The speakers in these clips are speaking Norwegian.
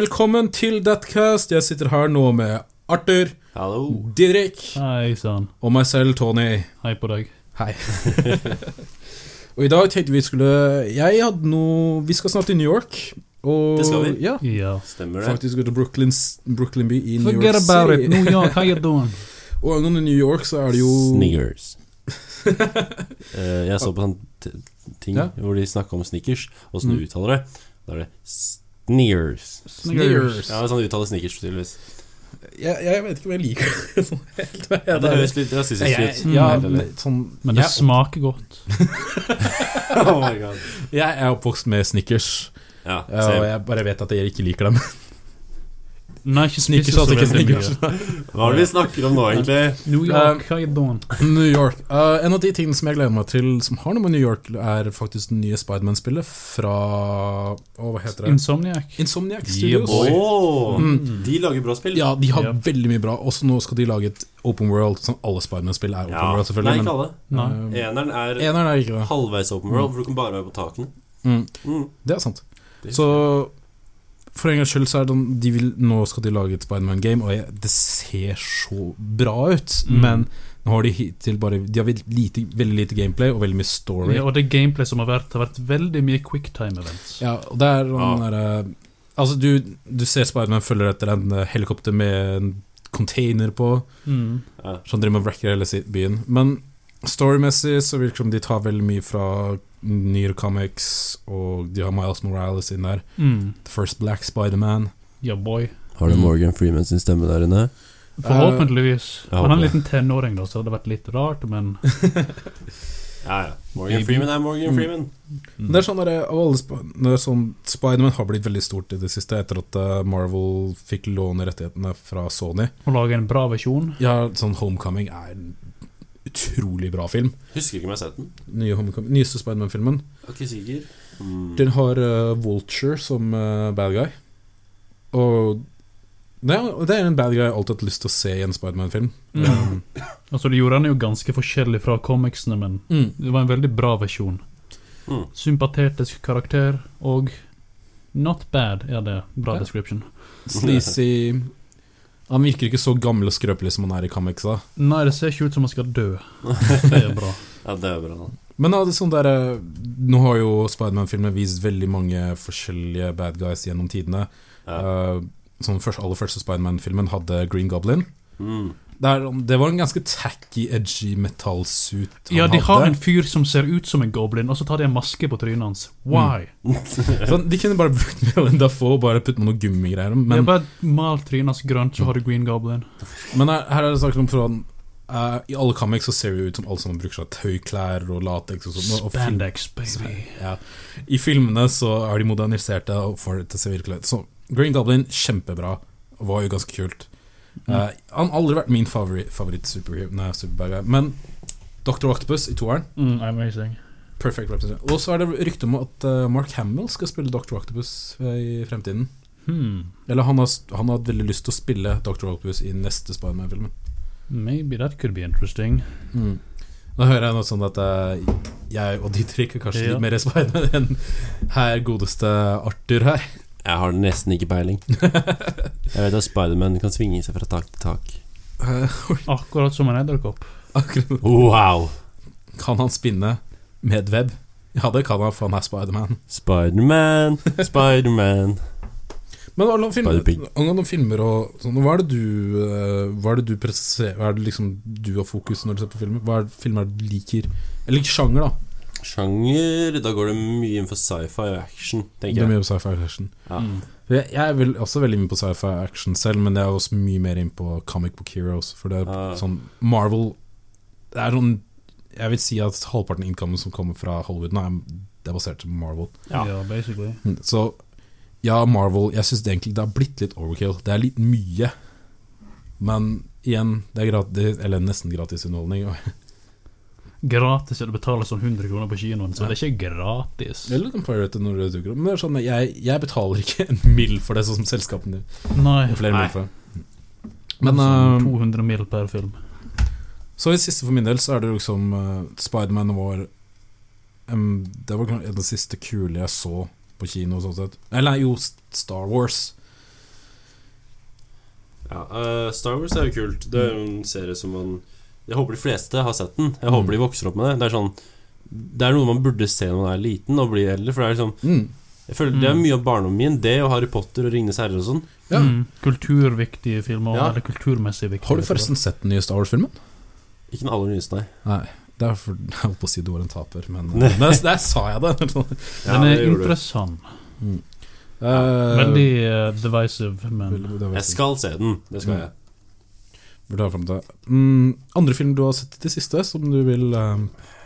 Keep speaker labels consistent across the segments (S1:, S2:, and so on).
S1: Velkommen til Deathcast. Jeg sitter her nå med Arthur,
S2: Hallo.
S1: Didrik
S3: Hei sann.
S1: og meg selv, Tony.
S3: Hei på deg.
S1: Hei. og i dag tenkte vi skulle Jeg hadde noe Vi skal snart til New York. Og,
S2: Det skal vi.
S1: Ja,
S3: Ja.
S2: Stemmer det?
S1: faktisk gå til Brooklyn, Brooklyn by i New
S3: Forget
S1: York
S3: about it.
S1: City.
S3: New York, how you doing?
S1: Og angående New York, så er det jo
S2: Snickers. Eh, jeg så på sånn t ting
S1: Ja.
S2: hvor de snakka om snickers, og sånn
S1: Mm.
S2: du uttaler det. Da er det sneers.
S1: Sneers.
S2: Ja, det er sånn du uttaler snickers, tydeligvis.
S1: Jeg, jeg vet ikke om jeg liker det sånn helt. hva jeg-
S2: det høres litt rasistisk ut. Mm.
S1: Jeg- ja,
S2: Helt ærlig.
S1: sånn,
S3: Men det
S1: jeg,
S3: smaker godt.
S2: oh my god.
S1: jeg er oppvokst med Snickers,
S2: Ja,
S1: og
S2: same.
S1: jeg bare vet at jeg ikke liker dem.
S3: Nei, ikke spiser
S1: Snickers,
S3: så
S1: altså ikke
S3: veldig mye.
S1: Snickers. Um,
S2: Hva er det vi snakker om nå, egentlig?
S3: New York, how you doing?
S1: New York. Eh, en av de tingene som jeg gleder meg til som har noe med New York, er faktisk det nye Spiderman-spillet fra å, Hva heter det?
S3: Insomniac.
S1: Insomniac
S3: Yeah,
S1: Studios.
S3: boy.
S2: Åh,
S1: Mm.
S2: De lager bra spill.
S1: ja, de har
S3: Ja.
S1: veldig mye bra. Også nå skal de lage et Open World. Som alle Spiderman-spill er Open
S2: Ja.
S1: World,
S2: Nei,
S1: selvfølgelig.
S2: ikke alle.
S3: Nei.
S1: men, eh,
S2: Eneren er
S1: Eneren er ikke det.
S2: halvveis open world, for du kan bare være på takene.
S1: Mm,
S2: Mm.
S1: det er sant.
S2: Det-
S1: Så for en gangs skyld så er det sånn, de vil, Nå skal de lage et Spiderman-game, og jeg, det ser så bra ut,
S3: Mm.
S1: men nå har de hittil bare De har veldig lite, veldig lite gameplay og veldig mye story.
S3: Ja, og det gameplay som har vært, har vært veldig mye quicktime events.
S1: Ja, og det er sånn
S2: Ja.
S1: derre Altså, du, du ser Spiderman følger etter en eh, helikopter med en container på,
S3: Mm.
S2: Ja.
S1: som driver med wrecker hele si- byen. Men storymessig så virker det som de tar veldig mye fra nyere comics, og de har Miles Morales inn der.
S3: Mm.
S1: The First Black Spiderman.
S3: Ja, boy.
S2: Har du Morgan Freeman sin stemme der inne?
S1: Uh,
S3: Forhåpentligvis.
S2: jeg
S3: Han er en
S2: håper det.
S3: liten tenåring, da, så det hadde vært litt rart, men
S2: Ja, ja. Morgan Freeman er Morgan
S1: Mm.
S2: Freeman.
S1: Men Det er sånn derre av alle Sp- det er sånn, Spiderman har blitt veldig stort i det siste, etter at eh, Marvel fikk låne rettighetene fra Sony.
S3: å lage en bra versjon
S1: Ja, sånn Homecoming er en utrolig bra film.
S2: Husker ikke om jeg har sett den.
S1: Nye Homecoming, nyeste Spiderman-filmen.
S2: Jeg er ikke sikker. Mm.
S1: Den har eh, Vulture som eh, bad guy. Og det er, det er en bad guy jeg alltid har hatt lyst til å se i en Spiderman-film. Um,
S3: Mm. Altså, De gjorde den jo ganske forskjellig fra comicsene, men
S1: Mm.
S3: det var en veldig bra versjon.
S2: Mm.
S3: Sympatetisk karakter og not bad, er det. Bra
S1: Ja.
S3: description.
S1: Sleazy Han virker ikke så gammel og skrøpelig som han er i Kameksa.
S3: Nei, det ser ikke ut som han skal dø. Det er bra.
S2: Ja, det er bra. da.
S1: Men ja, det er sånn der, eh, nå har jo Spiderman-filmer vist veldig mange forskjellige bad guys gjennom tidene.
S2: Ja.
S1: Eh, sånn først, aller første Spiderman-filmen hadde Green Goblin.
S2: Mm.
S1: Det, er, det var en ganske tacky, edgy metallsuit han
S3: Ja, de har
S1: hadde.
S3: en fyr som ser ut som en goblin, og så tar de en maske på trynet hans. Why?
S1: Sånn, de kunne bare brukt Willem Dafoe og bare putte med noe gummigreier.
S3: Men,
S1: Men,
S3: bare mal trynet hans grønt, så har du green goblin.
S1: men her, her er det snakk om sånn eh, I alle comics så ser det jo ut som alle sammen bruker seg tøyklær og lateks og sånn. og film-
S3: Spandex, baby.
S1: ja. I filmene så er de moderniserte og får det til å se virkelig ut. Så Green Goblin, kjempebra. Var jo ganske kult. Eh, han har aldri vært min favori- favoritt-superhero, nei, superbad guy, men Dr. Octopus i toeren.
S3: Mm, amazing.
S1: Perfect represent. Og så er det rykte om at eh, Mark Hamill skal spille Dr. Octopus eh, i fremtiden.
S3: Hmm.
S1: Eller han har, han har hatt veldig lyst til å spille Dr. Octopus i neste Spiderman-filmen.
S3: Maybe that could be interesting.
S1: Da hører jeg noe sånn at eh, jeg og Didrik er kanskje
S3: Ja.
S1: litt mer Spiderman enn her godeste Arthur her.
S2: Jeg har nesten ikke peiling. Jeg vet at Spiderman kan svinge seg fra tak til tak.
S3: Akkurat som en edderkopp.
S1: Akkurat.
S2: Wow!
S1: Kan han spinne med web? Ja, det kan han, for han er Spiderman.
S2: Spiderman, Spiderman.
S1: Men alle filmer,
S2: Spider-Pig.
S1: angående filmer og sånn, hva er det du eh, Hva er det du presiserer Hva er det liksom du har fokus når du ser på filmer? Hva er det filmer du liker? Eller ikke sjanger, da.
S2: Sjanger Da går det mye inn for sci-fi og action,
S1: Du er
S2: tenker jeg.
S1: mye på sci-fi action.
S2: Ja.
S3: Mm.
S1: Jeg jeg er vel også veldig inne på sci-fi action selv, men jeg er også mye mer inne på comic book heroes. For det er
S2: Ja.
S1: sånn Marvel Det er sånn Jeg vil si at halvparten av innkommen som kommer fra Hollywood nå, er, det er basert på Marvel.
S2: Ja.
S3: ja, basically.
S1: Så ja, Marvel Jeg syns egentlig det har blitt litt overkill. Det er litt mye. Men igjen, det er gratis, eller nesten gratis underholdning.
S3: Gratis er det å betale sånn 100 kroner på kinoen, så det er ikke gratis.
S1: Eller du kan pirate når det dukker opp. Men det er sånn, jeg, jeg betaler ikke en mill for det, sånn som selskapene gjør.
S3: Nei.
S1: Det er Flere
S2: Nei.
S1: mil for det.
S3: Men
S1: Men eh,
S3: sånn 200 mil per film.
S1: så i det siste for min del så er det liksom eh, Spiderman var em, Det var kanskje en av de siste kule jeg så på kino. Sånn sett. Eller nei, jo, S- Star Wars.
S2: Ja, eh, Star Wars er jo kult. Det er jo en serie som man Jeg håper de fleste har sett den. Jeg håper de
S1: Mm.
S2: vokser opp med det. Det er sånn Det er noe man burde se når man er liten og blir eldre. For det er liksom
S1: Mm.
S2: Jeg føler Det er mye av barndommen min, det og Harry Potter og Ringenes herre og sånn.
S1: Ja.
S3: Mm, kulturviktige filmer,
S2: Ja.
S3: eller kulturmessig viktige.
S1: Har du forresten sett den nye Star Wars-filmen?
S2: Ikke den aller nyeste, nei.
S1: Nei. Det er for, jeg holdt på å si du var en taper, men eh,
S2: Nei.
S1: der, der sa jeg det! sånn.
S2: Ja,
S3: Den
S2: det
S3: er
S2: gjorde du.
S3: interessant.
S1: Eh,
S3: Veldig eh, divisive, men
S1: vel, det var-
S2: Jeg skal se den. Det
S3: Mm.
S2: skal jeg.
S1: burde ha frem til. Mm, andre film du har sett i det siste, som du vil eh,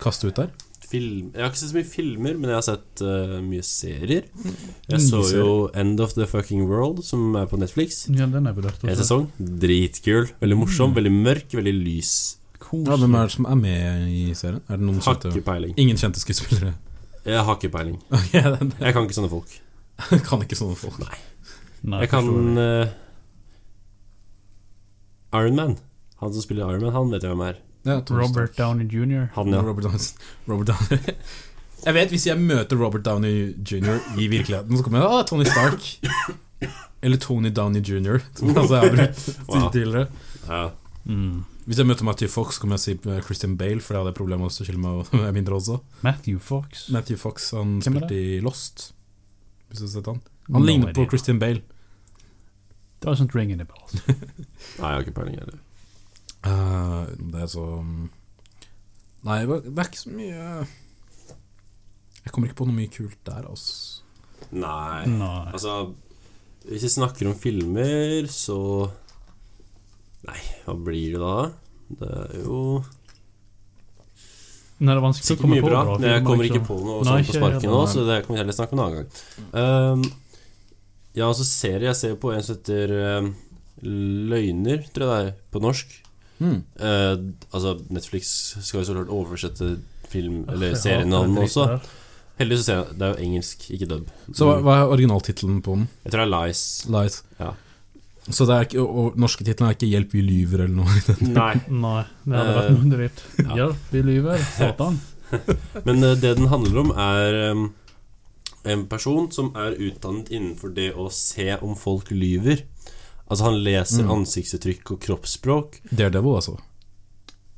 S1: kaste ut der?
S2: Film. Jeg har ikke sett så mye filmer, men jeg har sett eh, mye serier.
S3: Mm.
S1: Mye
S2: Jeg så jo End of the Fucking World, som er på Netflix.
S3: ja, den er vurdert.
S2: En sesong. Dritkul. Veldig
S3: Mm.
S2: morsom, veldig mørk, veldig lys.
S1: Ja, Hvem er det som er med i serien? Er det noen
S2: Har
S1: kjente
S2: ikke peiling.
S1: Ingen kjente skuespillere?
S2: Jeg har ikke peiling.
S1: Ok, det-
S2: Jeg kan ikke sånne folk.
S1: det kan ikke sånne folk.
S3: Nei,
S2: Jeg kan
S3: forstår det.
S2: eh, Iron Man. Han som spiller Iron Man, han vet jeg hvem er.
S1: Ja, Tony
S3: Robert
S1: Stark.
S3: Downey jr.
S2: Han, ja.
S1: Robert Downey. Robert Downey. Jeg vet Hvis jeg møter Robert Downey jr. i virkeligheten, så kommer jeg Å, Tony Stark. Eller Tony Downey jr., som altså jeg har brukt
S2: Wow.
S1: tidligere.
S2: Ja.
S3: Mm.
S1: Hvis jeg møter Matthew Fox, så kommer jeg til å si eh, Christian Bale, for det hadde jeg problemer med å skille meg med mindre også.
S3: Matthew Fox.
S1: Matthew Fox han
S3: Hvem er
S1: spilte i Lost. Hvis du har sett han
S3: No
S1: Han ligner på
S3: idea.
S1: Christian Bale.
S3: Doesn't ring any bells.
S2: Nei, jeg har ikke peiling heller.
S1: Eh, det er så mm, Nei, det er ikke så mye Jeg kommer ikke på noe mye kult der, altså.
S2: Nei.
S3: Nei.
S2: Altså, hvis vi snakker om filmer, så Nei, hva blir det da? Det er jo
S3: Nei, det er vanskelig å
S2: sikkert
S3: komme
S2: mye
S3: på
S2: bra, men jeg
S3: filmer,
S2: kommer ikke
S3: liksom.
S2: på noe
S3: Nei,
S2: sånn på
S3: ikke
S2: sparken
S3: heller,
S2: nå,
S1: nei.
S2: så det kan vi heller snakke om en annen gang. Um, ja, altså serie Jeg ser på en som heter um, Løgner, tror jeg det er, på norsk.
S1: Hmm.
S2: Eh, altså, Netflix skal jo så klart oversette film, eller
S3: Jeg hater
S2: serienavnene
S3: den
S2: også.
S3: driten der.
S2: Heldigvis så ser jeg det er jo engelsk, ikke dub.
S1: Så hva, hva er originaltittelen på den?
S2: Jeg tror det er Lies.
S1: Lies.
S2: Ja.
S1: Så det er ikke, og, og norske tittelen er ikke 'Hjelp, vi lyver' eller noe?
S2: Nei.
S3: Nei, det hadde
S2: Eh,
S3: vært noe dritt.
S2: ja.
S3: Hjelp, vi lyver. Satan.
S2: Men eh, det den handler om, er em, en person som er utdannet innenfor det å se om folk lyver. Altså, han leser
S1: Mm.
S2: ansiktsuttrykk og kroppsspråk.
S1: Daredevil, altså.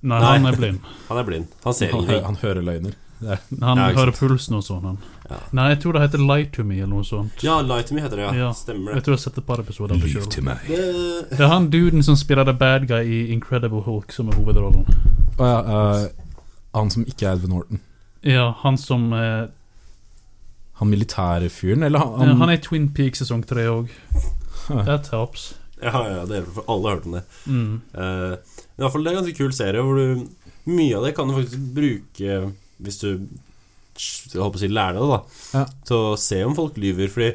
S3: Nei,
S2: Nei.
S3: han er blind.
S2: Han er blind. Han ser
S1: Han, hø-
S2: ingenting.
S1: han hører løgner. Det er-
S3: Han
S2: Ja, ikke
S3: hører pulsen og sånn. Han.
S2: Ja.
S3: Nei, jeg tror det heter Lie to me eller noe sånt.
S2: Ja, Lie to me heter det, ja.
S3: Ja.
S2: Stemmer
S3: Jeg
S2: det.
S3: tror jeg har sett et par episoder av det
S1: Lyv
S3: selv.
S1: til meg.
S2: det
S3: Det er han duden som spiller The Bad Guy i Incredible Hulk, som er hovedrollen.
S1: Å ja, eh, han som ikke er Edvin Horton.
S3: Ja, han som eh,
S1: Han militære fyren, eller han,
S3: ja, Han er i Twin Peaks sesong tre òg.
S1: Huh.
S3: That helps.
S2: ja, ja, det hjelper, for alle har hørt om det.
S3: Mm.
S2: Eh, Men i hvert fall det er en ganske kul serie Hvor du, mye av det kan du faktisk bruke Hvis du Jeg håper å si lærer deg det da
S1: Ja.
S2: Til å se om folk lyver Fordi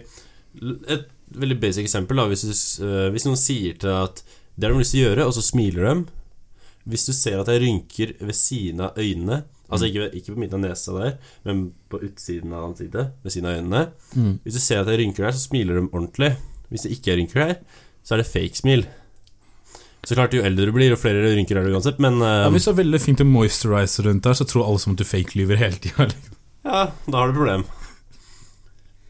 S2: l- et veldig basic eksempel da Hvis, du, s- eh, hvis noen sier til deg at Det har de lyst til å gjøre, og så smiler de Hvis du ser at jeg rynker ved siden av øynene Altså ikke, ved- ikke på midten av nesa der Men på utsiden av ansiktet Ved siden av øynene
S1: Mm.
S2: Hvis du ser at jeg rynker der, så smiler de ordentlig. Hvis det ikke er rynker der, så er det fake smil. Så klart, jo eldre du blir, jo flere rynker er det uansett, men eh,
S1: Ja, hvis det er veldig fint å moisturize rundt der, så tror alle som at du fake-lyver hele Liksom, tida.
S2: ja, da har du et problem.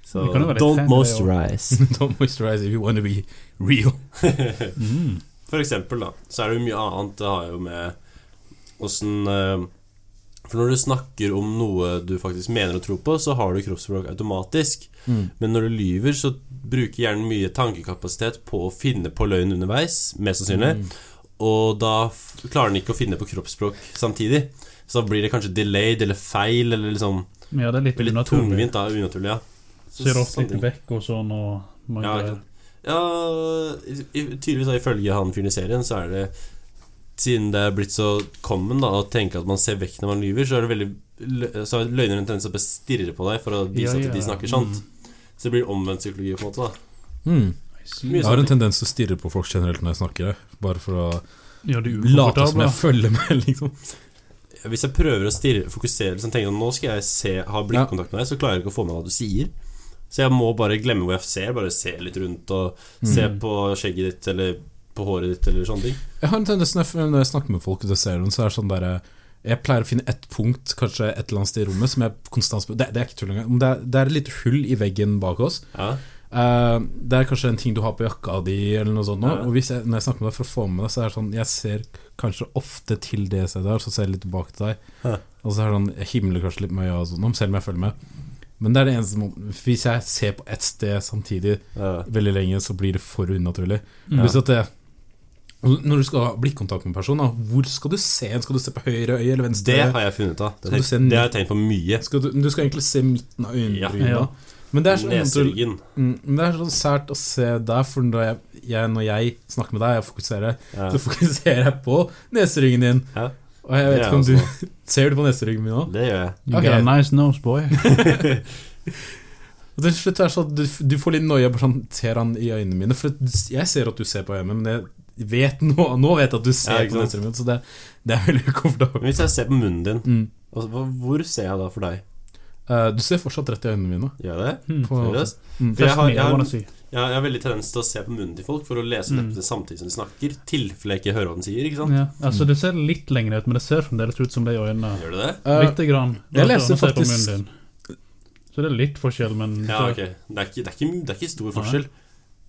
S2: Så
S3: Det kan jo være litt
S2: don't
S3: fancy,
S2: moisturize.
S1: Don't moisturize if you want to be real.
S3: Mm.
S2: For eksempel, da, så er det jo mye annet det har jo med åssen eh, For når du snakker om noe du faktisk mener og tror på, så har du kroppsspråk automatisk.
S1: Mm.
S2: Men når du lyver, så bruker hjernen mye tankekapasitet på å finne på løgn underveis, mest sannsynlig.
S3: Mm.
S2: Og da f- klarer den ikke å finne på kroppsspråk samtidig. Så da blir det kanskje delayed eller feil, eller liksom
S3: Ja, det er litt
S2: Veldig
S3: unaturlig.
S2: tungvint, da. Unaturlig, ja. Så-
S3: Ser ofte
S2: sånne
S3: litt
S2: ting.
S3: vekk og sånn, og man
S2: Ja, ikke sant. Ja, i- i- tydeligvis da, ifølge han fyren i serien, så er det Siden det er blitt så common da, å tenke at man ser vekk når man lyver, så er det veldig lø- Så har løgnere en tendens til å bare stirre på deg for å vise
S3: Ja, Mm. ja.
S2: at de snakker sant. Så det blir omvendt psykologi, på en måte. da
S1: Mm.
S3: I see.
S2: Mye sånn.
S1: Jeg har en
S2: sånne ting.
S1: tendens til å stirre på folk generelt når jeg snakker, jeg. bare for å
S3: Ja, du er
S1: late som
S3: ukomfortabel.
S1: jeg følger med, liksom.
S2: Hvis jeg prøver å stirre, fokusere liksom, tenker jeg, Nå skal jeg se, ha blikkontakt med deg, så klarer jeg ikke å få med hva du sier. Så jeg må bare glemme hvor jeg ser, bare se litt rundt og se
S3: Mm.
S2: på skjegget ditt eller på håret ditt eller sånne ting.
S1: Jeg har en tendens når jeg, når jeg snakker med folk, og det ser de, så er det sånn derre Jeg pleier å finne ett punkt, kanskje et eller annet sted i rommet, som jeg konstant spør det, det er ikke tull engang. men Det, er- det er et lite hull i veggen bak oss,
S2: Ja.
S1: Eh, det er kanskje en ting du har på jakka di, eller noe sånt. Nå.
S2: Ja.
S1: Og hvis jeg, når jeg snakker med deg for å få med det, så er det sånn Jeg ser kanskje ofte til det stedet her, så ser jeg litt tilbake til deg.
S2: Ja.
S1: Og så er det sånn Jeg himler kanskje litt med øya og sånn, om, selv om jeg følger med. Men det er det eneste må- Hvis jeg ser på ett sted samtidig
S2: Ja.
S1: veldig lenge, så blir det for unaturlig.
S3: Mm.
S1: Hvis at det og når du skal ha blikkontakt med en person, da, hvor skal du se? Skal du se på høyre øye eller venstre?
S2: Det har jeg funnet ut av. Det,
S1: Skal du se den-
S2: det har jeg tenkt på mye.
S1: Skal du, du skal egentlig se midten av øyenbryna.
S3: Ja.
S1: Men det er sånn unaturlig-
S2: Neseryggen.
S1: Mm, Men det er sånn sært å se der, for når jeg, jeg, når jeg snakker med deg og fokuserer,
S2: Ja.
S1: så fokuserer jeg på neseryggen din.
S2: Ja.
S1: Og jeg vet
S2: Det er
S1: ikke om
S2: jeg
S1: du Ser du på neseryggen min nå?
S2: Det gjør jeg.
S3: You got a
S1: Ok.
S3: nice nose, boy.
S1: Og til slutt er det sånn at du, du får litt noia på sånn Ser han i øynene mine? For jeg ser at du ser på øynene, men jeg vet nå, nå vet jeg at du ser
S2: Ja, ikke
S1: på
S2: sant?
S1: neseryggen min, så det, det er veldig komfortabelt.
S2: Men hvis jeg ser på munnen din,
S1: Mm.
S2: altså, hva- hvor ser jeg da for deg?
S1: Eh, du ser fortsatt rett i øynene mine.
S2: Gjør jeg det?
S3: Mm.
S1: På,
S2: Seriøst?
S1: Mm.
S2: For jeg har, jeg,
S3: jeg,
S2: har,
S3: si.
S2: jeg har veldig tendens til å se på munnen til folk for å lese
S3: Mm.
S2: leppene samtidig som de snakker, tilfelle jeg ikke hører hva de sier, ikke sant?
S3: ja. altså, det ser litt lenger ut, men det ser fremdeles ut som det i øynene.
S2: Gjør du det?
S1: Eh,
S3: Lite grann.
S1: jeg
S3: Nå ser-
S1: leser
S3: nå ser på
S1: faktisk-
S3: munnen din. Så det er litt forskjell, men
S2: Ja, ok. Det er ikke, det er ikke, det er ikke stor forskjell.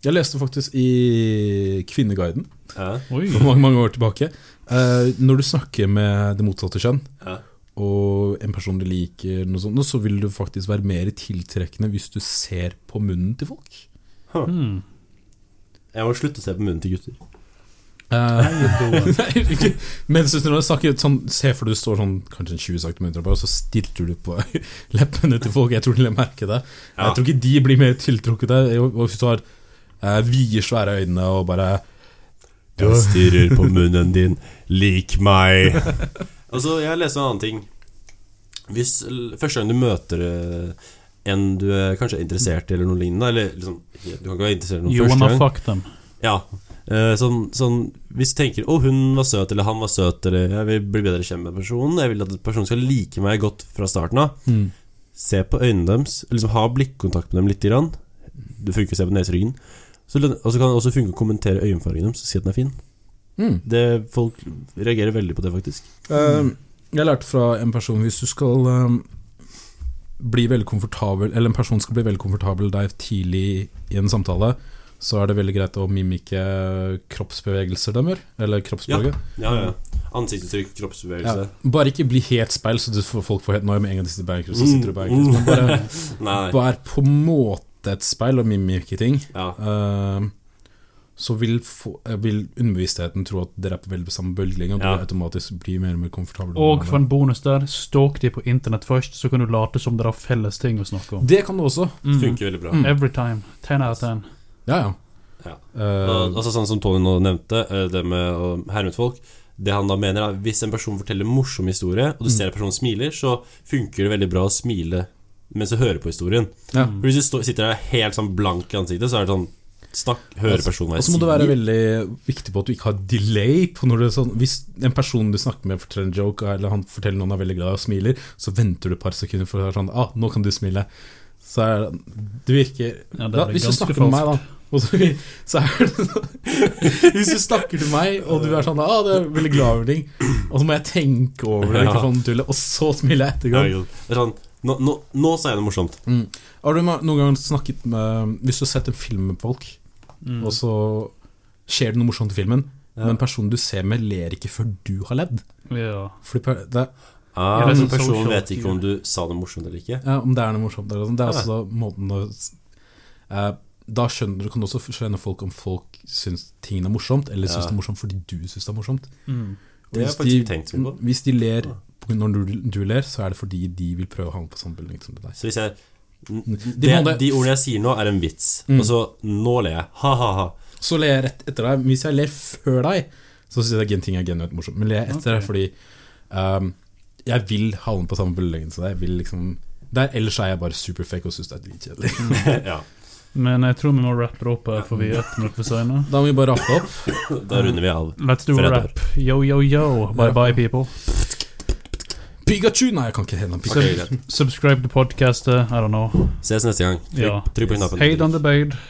S1: jeg leste faktisk i Kvinneguiden
S2: Ja.
S3: Oi.
S1: for mange, mange år tilbake. Eh, når du snakker med det motsatte kjønn,
S2: Ja.
S1: og en person du liker, noe sånt, så vil du faktisk være mer tiltrekkende hvis du ser på munnen til folk.
S3: Hmm.
S2: Jeg må slutte å se på munnen til gutter.
S1: Nei, ikke. Mens du når du snakker sånn, Se for deg du står sånn kanskje en 20 cm unna, og så stirrer du på leppene til folk. Jeg tror de merker det.
S2: Ja.
S1: Jeg tror ikke de blir mer tiltrukket av det. Og Hvis du har eh, vide, svære øyne og bare
S2: Jeg stirrer på munnen din, lik meg. altså, jeg leser en annen ting. Hvis l- Første gang du møter eh, en du er kanskje er interessert i, eller noe lignende Eller liksom, ikke- du kan ikke være interessert i noen
S3: You
S2: første
S3: wanna
S2: gang.
S3: fuck them.
S2: Ja, eh, sånn, sånn, hvis du tenker 'Å, hun var søt', eller 'han var søt', eller 'Jeg vil bli bedre kjent med personen', 'Jeg vil at personen skal like meg godt fra starten av',
S1: mm,
S2: se på øynene deres, liksom ha blikkontakt med dem litt. Grann. Det funker å se på neseryggen. Så, løn- og så kan det også funke å kommentere øyenfargen deres og si at den er fin.
S1: mm.
S2: Det, folk reagerer veldig på det, faktisk.
S1: Eh, Jeg lærte fra en person Hvis du skal eh, bli veldig komfortabel Eller en person skal bli veldig komfortabel deg tidlig i en samtale, så er det veldig greit å mimike kroppsbevegelser de gjør. Eller kroppsspråket.
S2: Ja, ja. Ansiktsuttrykk, kroppsbevegelse.
S1: Ja. Bare ikke bli helt speil, så du får folk får helt noe med en gang de sitter i bankers. Så
S2: Mm,
S1: sitter du i bankers. Men bare
S2: Nei, nei.
S1: vær på en måte et speil og mimike ting.
S2: Ja.
S1: eh, så vil, få- eh, vil underbevisstheten tro at dere er på veldig samme bølgelengde, og
S2: Ja.
S1: du automatisk blir mer og mer komfortabel.
S3: Og for en bonus der, stalk de på internett først, så kan du late som dere har felles ting å snakke om.
S1: Det kan du også.
S3: Mm.
S2: Funker veldig bra.
S1: Mm.
S3: Every time. 10 out of 10.
S1: Ja, ja.
S2: Ja.
S1: Eh,
S2: Og- altså Sånn som Tony nå nevnte, eh, det med å herme ut folk. Det han da mener er Hvis en person forteller en morsom historie, og du
S1: Mm.
S2: ser at personen smiler, så funker det veldig bra å smile mens du hører på historien.
S1: ja.
S3: Mm.
S2: For Hvis du står- sitter der helt sånn blank i ansiktet, så er det sånn Snakk, hører personen hva
S1: Og
S2: jeg
S1: så må
S2: sier.
S1: du være veldig viktig på at du ikke har delay. På når du er sånn, hvis en person du snakker med forteller en joke, eller han forteller noen er veldig glad i og smiler, så venter du et par sekunder for å være sånn ah, 'Nå kan du smile'. Så er det, det virker
S3: Ja, det
S1: da,
S3: er
S1: Hvis du
S3: ganske
S1: snakker med meg, da og så, så er det sånn Hvis du snakker til meg, og du er sånn ah, du er veldig glad over ting, og så må jeg tenke over det, ikke
S2: Ja.
S1: faen tulle, og så smiler jeg
S2: Ja,
S1: etterpå.
S2: ikke sant. Det er sånn Nå, nå, nå sa jeg noe morsomt.
S1: Har du ma- noen gang snakket med Hvis du har sett en film med folk,
S3: Mm.
S1: og så skjer det noe morsomt i filmen,
S2: Ja.
S1: men personen du ser med, ler ikke før du har ledd.
S3: Ja.
S1: Fordi per- det, er-
S2: Ah,
S3: Ja, det er
S2: men
S3: sånn
S2: personen
S3: social
S2: vet ikke
S3: cue.
S2: om du sa noe morsomt eller ikke.
S1: ja, om det er noe morsomt der, og sånn, det er
S2: Ja.
S1: også da måten å eh, Da skjønner du, kan du også skjønne folk om folk syns ting er morsomt, eller syns
S2: Ja.
S1: det er morsomt fordi du syns det er morsomt.
S3: Mm.
S1: Og
S2: Det har
S1: hvis
S2: jeg faktisk ikke
S1: de,
S2: tenkt så mye på.
S1: hvis de ler
S2: Ja.
S1: på grunn av når du, du ler, så er det fordi de vil prøve å havne på samme bølgelengde som deg.
S2: Så hvis jeg
S1: De
S2: de,
S1: må det-
S2: de ordene jeg sier nå, er en vits.
S1: Mm.
S2: Og så nå ler jeg. Ha-ha-ha.
S1: Så ler jeg rett etter deg. Men Hvis jeg ler før deg, så syns jeg gen- ting er genuint morsomt. Men ler jeg etter
S3: Ok.
S1: deg fordi ehm, jeg vil havne på samme bølgelengde som deg. Jeg vil liksom der, ellers er jeg bare superfake og syns det er dritkjedelig.
S2: ja.
S3: Men jeg tror vi må rappe det opp her, for vi er ett minutt for seine.
S1: Da må vi bare rappe opp.
S2: Da runder vi av.
S3: Let's do a
S2: Fredag.
S3: rap. Yo, yo, yo. Bye, bye, people.
S1: Pikachu! Nei, jeg kan ikke hende om Pikachu.
S2: Ok, greit.
S3: Subscribe to podcastet. I don't know.
S2: Ses neste gang. Trykk,
S3: Ja.
S2: trykk på knappen.
S3: Hate on the bade.